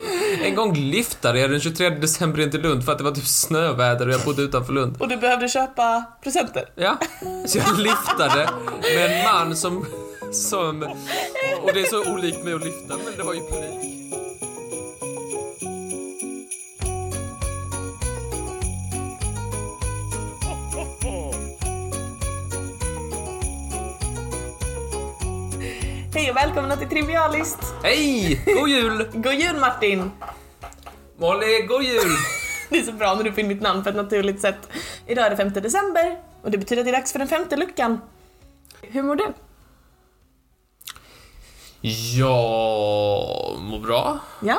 En gång lyftade jag den 23 december in till Lund för att det var typ snöväder och jag bodde utanför Lund. Och du behövde köpa presenter. Ja, så jag lyftade med en man som... som och det är så olikt mig att lyfta, men det var ju panik. Hej och välkomna till Trivialist. Hej! God jul! God jul Martin! Molly, god jul! Det är så bra när du får in mitt namn på ett naturligt sätt. Idag är det 5 december och det betyder att det är dags för den femte luckan. Hur mår du? Ja, mår bra. Ja,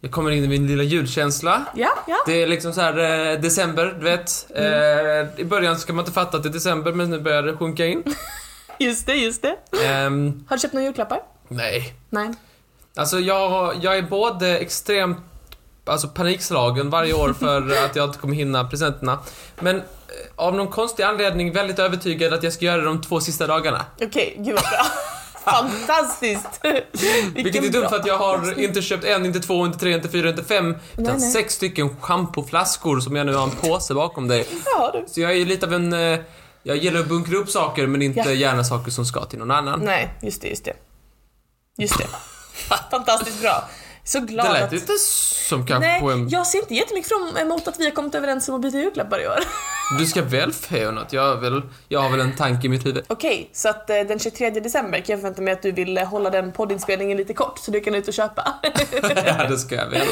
Jag kommer in i min lilla julkänsla. ja, ja. Det är liksom så här eh, december, du vet. Eh, I början ska man inte fatta att det är december, men nu börjar det sjunka in. Just det, just det. Ehm, Har du köpt några julklappar? nej. Nej. Alltså jag, jag är både extremt alltså panikslagen varje år för att jag inte kommer hinna presenterna. Men eh, av någon konstig anledning väldigt övertygad att jag ska göra det de två sista dagarna. Okej, gud vad bra. Fantastiskt! Vilken Vilket är dumt bra. för att jag har inte köpt en, inte två, inte tre, inte fyra, inte fem, utan nej. sex stycken schampoflaskor som jag nu har en påse bakom dig. Ja, du. Så jag är ju lite av en... eh, Jag gillar att bunkra upp saker men inte Ja. gärna saker som ska till någon annan. Nej, just det, just det. Just det. Fantastiskt bra. Så glad Det att... lät ju inte som kanske Nej, på en... jag ser inte jättemycket fram emot att vi har kommit överens om att byta julklappar i år. Du ska väl få något? Jag, har väl, jag har väl en tanke i mitt huvud. Okej, så att eh, den 23 december kan jag förvänta mig att du vill eh, hålla den poddinspelningen lite kort så du kan ut och köpa. Ja, det ska jag väl.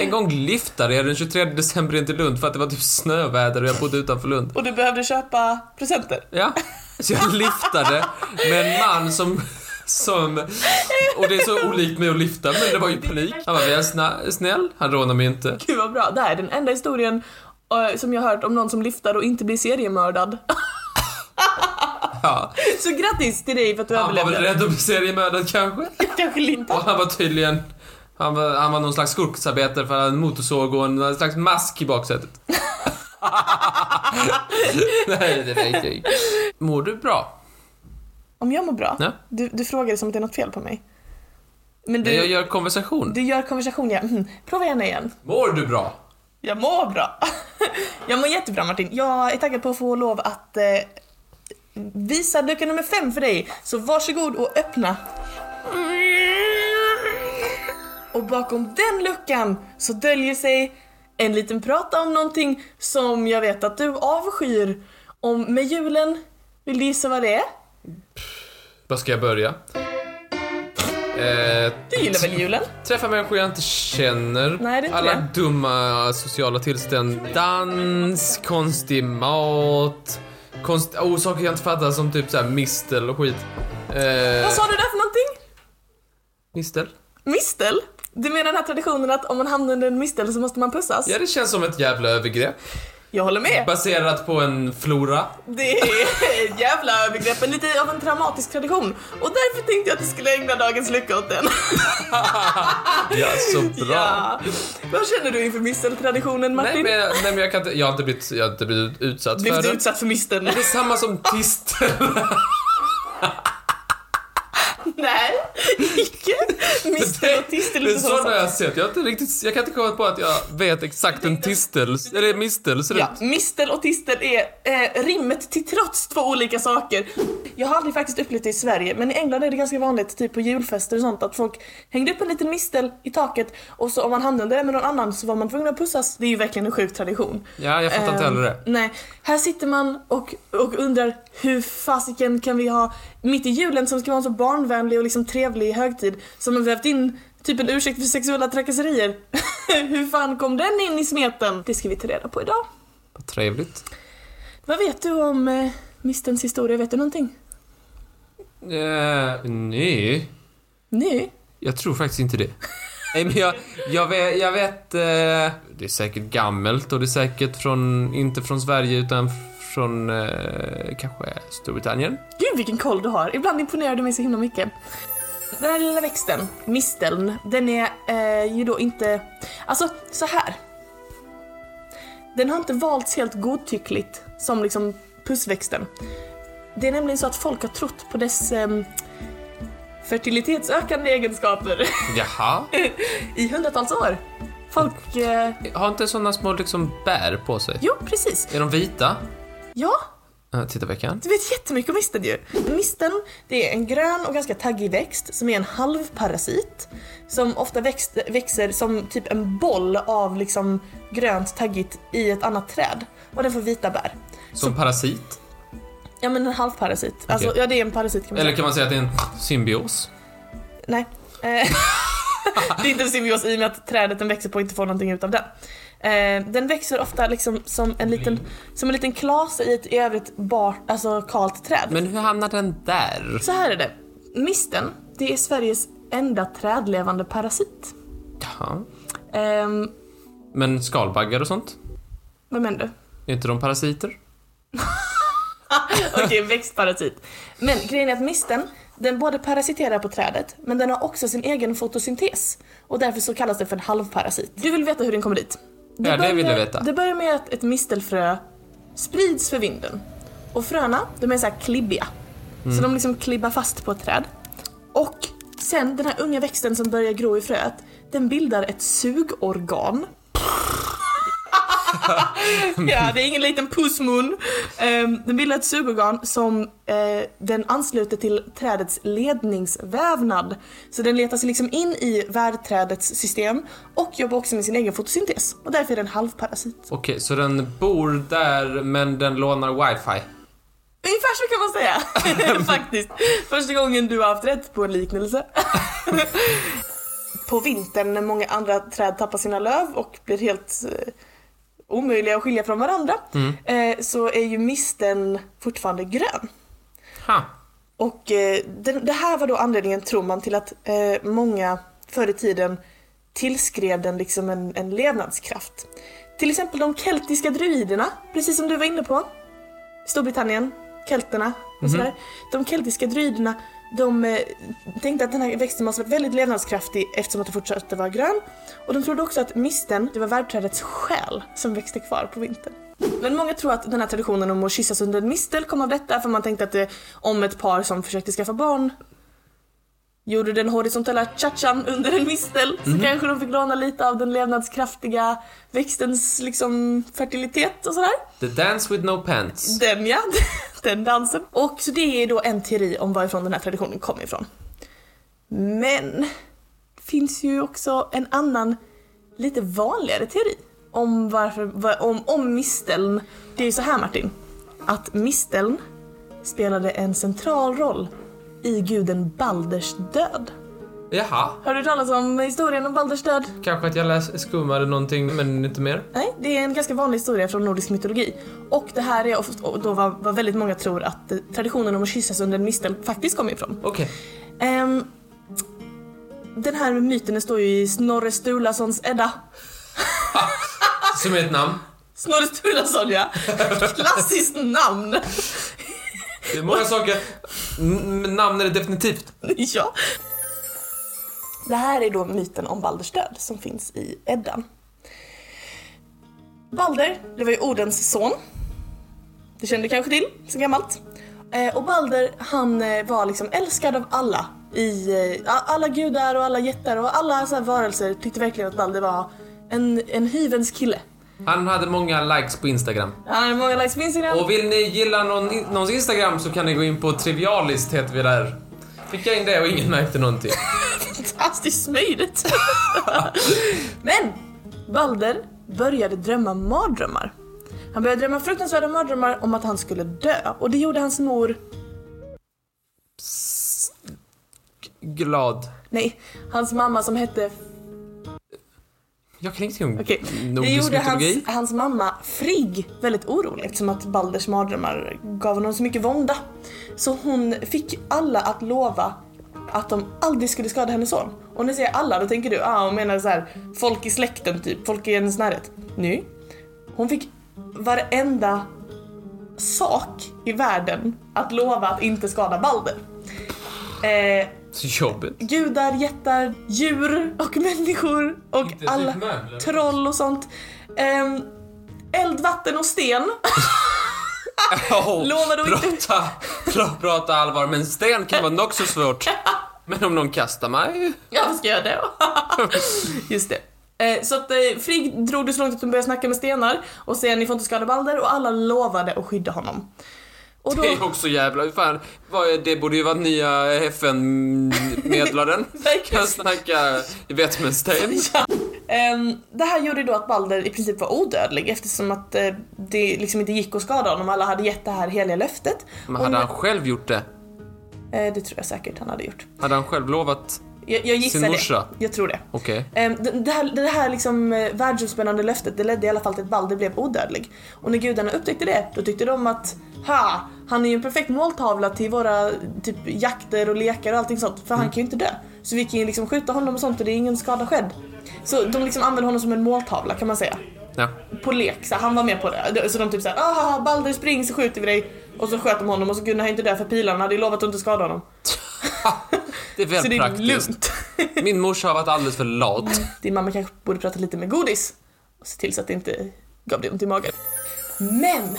En gång lyftade jag den 23 december in till Lund för att det var typ snöväder och jag bodde utanför Lund. och du behövde köpa presenter. Ja, så jag lyftade med en man som... Som... Och det är så olikt mig att lyfta, men det var ju panik. Han var väl snä- snäll, han rånade mig inte. Gud vad bra, det här är den enda historien eh, som jag hört om någon som lyftar och inte blir seriemördad. Ja, så grattis till dig för att du han var väl överlevde. rädd att bli seriemördad kanske? Kanske lite. Och han var tydligen... Han var, han var någon slags skurksarbetare för han hade en motorsåg och en slags mask i baksätet. Nej, det vet jag inte. Mår du bra? Om jag mår bra? Ja. Du, du frågar det som att det är något fel på mig. Men du, Nej, Jag gör konversation. du gör konversation, ja. Mm. Prova gärna igen. Mår du bra? Jag mår bra. Jag mår jättebra Martin. Jag är taggad på att få lov att eh, visa lucka nummer fem för dig. Så varsågod och öppna. Och bakom den luckan så döljer sig en liten prata om någonting som jag vet att du avskyr. Om med julen, vill du gissa vad det är? Var ska jag börja? Eh, Du gillar väl julen? träffa människor jag inte känner. Nej, det är inte Alla det. dumma sociala tillstånd. Dans, konstig mat, konst... Oh, saker jag inte fattar som typ så här mistel och skit. Eh, Vad sa du där för någonting? mistel? Mistel? Du menar den här traditionen att om man hamnar under en mistel så måste man pussas? Ja, det känns som ett jävla övergrepp. Jag håller med. Baserat på en flora. Det är ett jävla övergrepp, men lite av en traumatisk tradition. Och därför tänkte jag att du skulle ägna dagens lycka åt den. Ja, så bra. Ja. Vad känner du inför misteltraditionen Nej, Martin? men, jag- nej, men jag, kan inte, jag, har inte blivit, jag har inte blivit utsatt Blev för du det. utsatt för misteln? Det är samma som tistel. Nej, icke. Mistel och tistel är Det är inte sådana jag sådana har sett. Jag, har inte riktigt, jag kan inte komma på att jag vet exakt hur en tistel, eller mistel ser Ja, ut. mistel och tistel är eh, rimmet till trots två olika saker. Jag har aldrig faktiskt upplevt det i Sverige, men i England är det ganska vanligt typ på julfester och sånt att folk hängde upp en liten mistel i taket och så om man hamnade där med någon annan så var man tvungen att pussas. Det är ju verkligen en sjuk tradition. Ja, jag fattar inte Ehm, heller det. Nej, här sitter man och, och undrar hur fasiken kan vi ha mitt i julen som ska vara en så barnvänlig och liksom trevlig högtid som har vävt in typ en ursäkt för sexuella trakasserier. hur fan kom den in i smeten? Det ska vi ta reda på idag. Vad trevligt. Vad vet du om eh, mistens historia? Vet du någonting? Eh, nej, Nej. jag tror faktiskt inte det. Nej, men jag, jag vet... Jag vet eh, det är säkert gammalt och det är säkert från, inte från Sverige utan från eh, kanske Storbritannien. Gud vilken koll du har. Ibland imponerar du mig så himla mycket. Den här lilla växten, misteln, den är eh, ju då inte... Alltså, så här. Den har inte valts helt godtyckligt som liksom pussväxten. Det är nämligen så att folk har trott på dess eh, ehm, fertilitetsökande egenskaper Jaha? i hundratals år. Folk... Eh, Har inte såna små liksom bär på sig? jo, precis. Är de vita? Ja, Eh, Titta veckan. Du vet jättemycket om misten ju. Misten, det är en grön och ganska taggig växt som är en halvparasit. Som ofta växt, växer som typ en boll av liksom grönt taggigt i ett annat träd. Och den får vita bär. Som parasit? Ja men en halvparasit. Alltså, Okej. ja det är en parasit kan man Eller säga. kan man säga att det är en symbios? Nej. Eh, det är inte en symbios i och med att trädet den växer på inte får någonting utav den. Eh, den växer ofta liksom som en liten, som en liten klase i ett i övrigt bar, alltså kalt träd. Men hur hamnar den där? Så här är det. Misten, det är Sveriges enda trädlevande parasit. Jaha. Ehm, Men skalbaggar och sånt? vad menar du? Är inte de parasiter? Okej, växtparasit. Men grejen är att misten, den både parasiterar på trädet, men den har också sin egen fotosyntes. Och därför så kallas det för en halvparasit. Du vill veta hur den kommer dit? Ja, det börjar- vill jag veta. Det börjar med att ett mistelfrö sprids för vinden. Och fröna, de är så här klibbiga. Mm. Så de liksom klibbar fast på ett träd. Och sen den här unga växten som börjar gro i fröet, den bildar ett sugorgan. ja, det är ingen liten pussmun. Ehm, den bildar ett sugorgan som eh, den ansluter till trädets ledningsvävnad. Så den letar sig liksom in i värdträdets system och jobbar också med sin egen fotosyntes. Och därför är den halvparasit. Okej, så den bor där men den lånar wifi? Ungefär så kan man säga. Faktiskt. Första gången du har haft rätt på en liknelse. på vintern när många andra träd tappar sina löv och blir helt eh, omöjliga att skilja från varandra eh, så är ju misten fortfarande grön. Ha. Och eh, det, det här var då anledningen, tror man, till att eh, många förr i tiden tillskrev den liksom en, en levnadskraft. Till exempel de keltiska druiderna, precis som du var inne på. Storbritannien, kelterna och sådär. De keltiska druiderna, de eh, tänkte att den här växten måste varit väldigt levnadskraftig eftersom att den fortsatte vara grön. Och de trodde också att misten, det var värdträdets själ som växte kvar på vintern. Men många tror att den här traditionen om att kyssas under en mistel kom av detta för man tänkte att det, om ett par som försökte skaffa barn gjorde den horisontella chachan under en mistel så kanske de fick låna lite av den levnadskraftiga växtens liksom fertilitet och sådär. The dance with no pants. Den ja, den dansen. Och så det är då en teori om varifrån den här traditionen kommer ifrån. Men det finns ju också en annan lite vanligare teori om varför, va- om, om misteln. Det är ju så här Martin, att misteln spelade en central roll i guden Balders död. Jaha. Har du hört talas om historien om Balders död? Kanske att jag läs- skummade någonting men inte mer. Nej, det är en ganska vanlig historia från nordisk mytologi. Och det här är ofta, och då vad, vad väldigt många tror att eh, traditionen om att kyssas under en mistel faktiskt kommer ifrån. Okej. Ehm, den här myten den står ju i Snorre Sturlasons Edda. Som är ett namn. Snorre Sturlason ja! Klassiskt namn! Det är många saker. M- men namn är det definitivt. ja. Det här är då myten om Balders död som finns i Eddan. Balder, det var ju Odens son. Det kände du kanske till så gammalt. Eh, och Balder, han eh, var liksom älskad av alla. I, eh, a- alla gudar och alla jättar och alla så här varelser tyckte verkligen att Balder var en, en hyvens kille. Han hade många likes på Instagram. Han hade många likes på Instagram. Och vill ni gilla någon, någons Instagram så kan ni gå in på Trivialist heter vi där. Fick jag in det och ingen märkte någonting. fantastiskt smidigt. Men Balder började drömma mardrömmar. Han började drömma fruktansvärda mardrömmar om att han skulle dö och det gjorde hans mor, Glad. nej, hans mamma som hette, Jag kan ingenting om okej, det Mm. nordisk gjorde hans, mytologi. hans mamma Frigg väldigt orolig eftersom att Balders mardrömmar gav honom så mycket vånda. Så hon fick alla att lova att de aldrig skulle skada hennes son. Och när jag säger alla, då tänker du, ah hon menar så här, folk i släkten typ, folk i hennes närhet. Nej, Hon fick varenda sak i världen att lova att inte skada Balder. Eh, Så jobbigt. gudar, jättar, djur och människor och Inte typ alla möbler. troll och sånt. Ehm, eld, vatten och sten. Oh, Lova då inte- prata, pra, prata allvar, men sten kan vara nog så svårt. Men om någon kastar mig? Ja, vad ska jag göra då? Just det. Eh, Så att eh, Frigg drog det så långt att hon började snacka med stenar och sen ni får inte skada Balder och alla lovade att skydda honom. Och då, Det är också jävla... Fan, vad är, det borde ju vara nya FN-medlaren. verkligen, Kan snacka i Wittgenstein. Ehm, det här gjorde då att Balder i princip var odödlig eftersom att eh, det liksom inte gick att skada honom. Alla hade gett det här heliga löftet. Men Och hade nu- han själv gjort det? Eh, det tror jag säkert han hade gjort. Hade han själv lovat? Jag, jag gissar Sin morsa? det. Jag tror det. Okej. Ehm, Det det här, det här liksom eh, världsomspännande löftet det ledde i alla fall till att Balder blev odödlig. Och när gudarna upptäckte det, då tyckte de att ha, han är ju en perfekt måltavla till våra typ, jakter och lekar och allting sånt, för han kan ju inte dö. Så vi kan ju liksom skjuta honom och sånt och det är ingen skada skedd. Så de liksom använder honom som en måltavla kan man säga. Ja. På lek, så han var med på det. Så de typ såhär, ah Balder spring så skjuter vi dig. Och så sköt de honom och så kunde han inte dö för pilarna hade ju lovat att inte skada honom. Det är väl Så det är praktiskt. lugnt. Min morsa har varit alldeles för lat. Din mamma kanske borde prata lite med godis och se till så att det inte gav dig ont i magen. Men!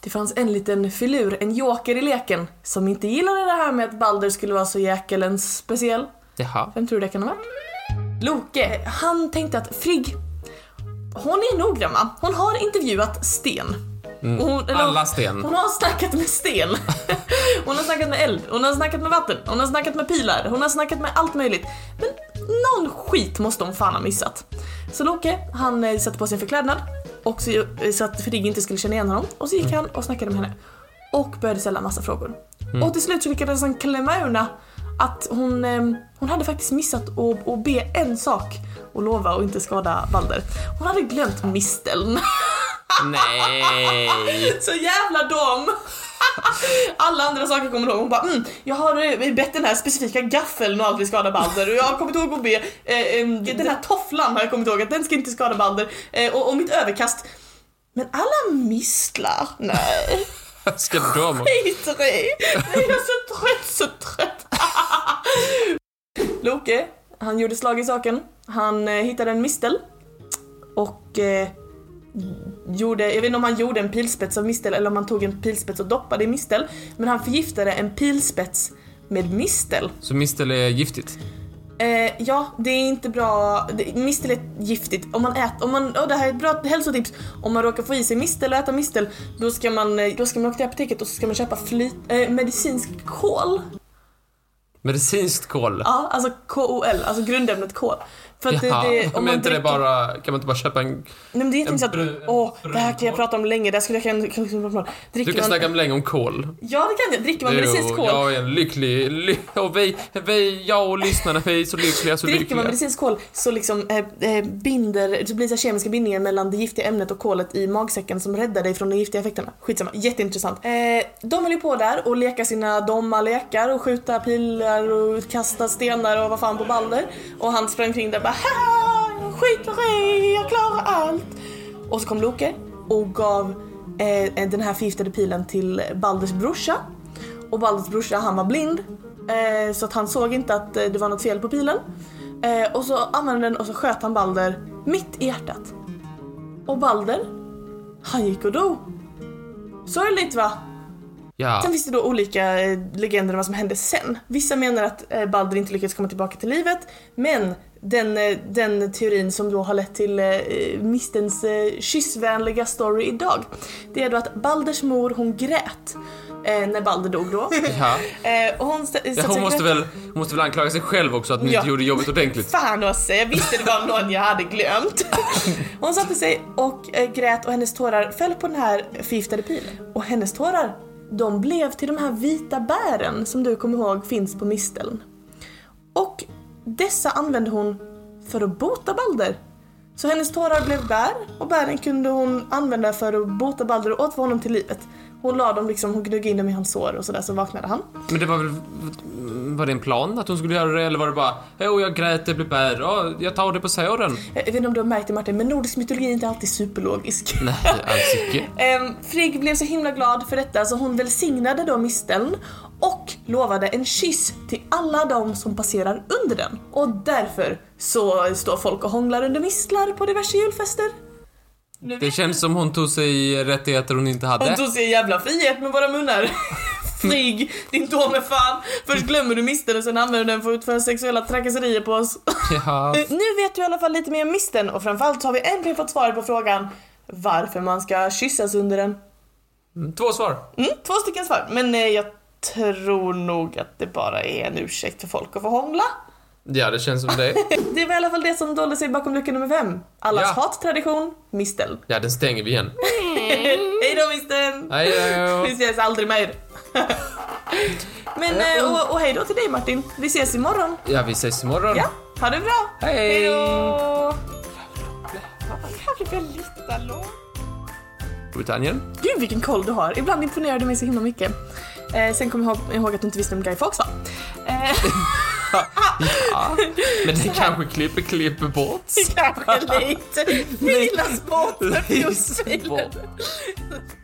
Det fanns en liten filur, en joker i leken, som inte gillade det här med att Balder skulle vara så jäkelens speciell. Jaha. Vem tror du det kan ha varit? Loke, han tänkte att Frigg, hon är noggrann va? Hon har intervjuat Sten. Hon, eller- Mm. Alla sten. hon har snackat med sten. Hon har snackat med eld, hon har snackat med vatten, hon har snackat med pilar, hon har snackat med allt möjligt. Men någon skit måste hon fan ha missat. Så Loke, han eh, satte på sin förklädnad och så, eh, så att Frigg inte skulle känna igen honom. Och så Mm. gick han och snackade med henne. Och började ställa massa frågor. Mm. Och till slut så lyckades han klämma ur henne att hon, eh, hon hade faktiskt missat att, att be en sak och lova att inte skada Balder. Hon hade glömt misteln. Nej. Så jävla dom! Alla andra saker kommer du ihåg. Hon bara mm, jag har eh, bett den här specifika gaffeln och aldrig skada Balder och jag har kommit ihåg att be eh, em, den här tofflan har jag kommit ihåg att den ska inte skada Balder eh, och, och mitt överkast. Men alla mistlar? Nej, Ska de... skiter i. Nej, jag är så trött, så trött. Loke, han gjorde slag i saken. Han eh, hittade en mistel och eh, gjorde, jag vet inte om han gjorde en pilspets av mistel eller om han tog en pilspets och doppade i mistel. Men han förgiftade en pilspets med mistel. Så mistel är giftigt. Eh, ja, det är inte bra. det- Mistel är giftigt. Om man äter, om man, oh, det här är ett bra hälsotips. Om man råkar få i sig mistel och äta mistel, då ska man, eh, då ska man åka till apoteket och så ska man köpa flyt, eh, medicinsk kol. Medicinskt kol. Ja, alltså KOL, alltså grundämnet kol. För att det, Jaha. det, Men är inte det dricker- bara... Kan man inte bara köpa en... Nej men det är inte en så att, brun- en åh, det här kan jag brunkol? prata om länge, det här skulle jag kunna... kunna- kunna prata om. Dricker Du kan man, snacka länge om kol. Ja det kan jag, dricker man Jo, medicinsk kol Jag är en lycklig... Ly, och vi, vi, jag och lyssnarna, vi är så lyckliga, så Dricker man lyckliga. medicinsk kol så liksom eh, eh, binder, så blir det så här kemiska bindningar mellan det giftiga ämnet och kolet i magsäcken som räddar dig från de giftiga effekterna. Skitsamma, jätteintressant. Eh, de höll ju på där och leka sina dumma lekar och skjuta pilar och kasta stenar och vad fan på Balder. Och han sprang kring där och bara "Haha, jag skiter i, jag klarar allt. Och så kom Loke och gav eh, den här förgiftade pilen till Balders brorsa. Och Balders brorsa han var blind. Eh, så att han såg inte att eh, det var något fel på pilen. Eh, och så använde den och så sköt han Balder mitt i hjärtat. Och Balder, han gick och dog. Sorgligt va? Ja. Sen finns det då olika eh, legender om vad som hände sen. Vissa menar att eh, Balder inte lyckades komma tillbaka till livet, men den, eh, den teorin som då har lett till eh, mistens eh, kyssvänliga story idag, det är då att Balders mor hon grät eh, när Balder dog då. Ja. Eh, och hon, st- Ja, satt sig hon, och måste grät. väl, hon måste väl anklaga sig själv också att ni Ja. inte gjorde jobbet ordentligt. Fan Åse, jag visste det var någon jag hade glömt. Hon satte sig och eh, grät och hennes tårar föll på den här förgiftade pilen. Och hennes tårar, de blev till de här vita bären som du kommer ihåg finns på misteln. Och dessa använde hon för att bota Balder. Så hennes tårar blev bär och bären kunde hon använda för att bota Balder och återfå honom till livet. Hon la dem liksom, hon gnugg in dem i hans sår och sådär så vaknade han. Eh, Men det var väl... Var det en plan att hon skulle göra det eller var det bara Jo, jag grät, det blev bär, Ja, jag tar det på såren. Jag vet inte om du har märkt det Martin, men nordisk mytologi är inte alltid superlogisk. Nej, alls icke. Ehm, Frigg blev så himla glad för detta så hon välsignade då misteln och lovade en kyss till alla de som passerar under den. Och därför så står folk och hånglar under mistlar på diverse julfester. Nu Det vet känns som hon tog sig rättigheter hon inte hade. hon tog sig en jävla frihet med våra munnar. frig, din dåme fan. Först glömmer du misten och sen använder du den för att utföra sexuella trakasserier på oss. Ja. Eh, Nu vet du i alla fall lite mer om misten och framförallt har vi äntligen fått svaret på frågan varför man ska kyssas under den. Mm, Två svar. Mm, två stycken svar, men eh, jag tror nog att det bara är en ursäkt för folk att få hångla. Ja, det känns som det. Det var i alla fall det som dolde sig bakom lucka nummer fem. Allas Ja. hattradition, mistel. Ja, den stänger vi igen. Hej då misteln! Hej då. Vi ses aldrig mer. men, eh, och, och hej då till dig Martin. Vi ses imorgon. Ja, vi ses imorgon. Ja, ha det bra. Hej. Hej då! Jävla lite lång. Storbritannien. Gud vilken koll du har. Ibland imponerar du mig så himla mycket. Eh, sen kom jag ihåg, ihåg att du inte visste vem Guy Fawkes var. Eh, Men det kanske klipper, klipper bort. kanske lite. Filas bort. Filas bort. Filas bort.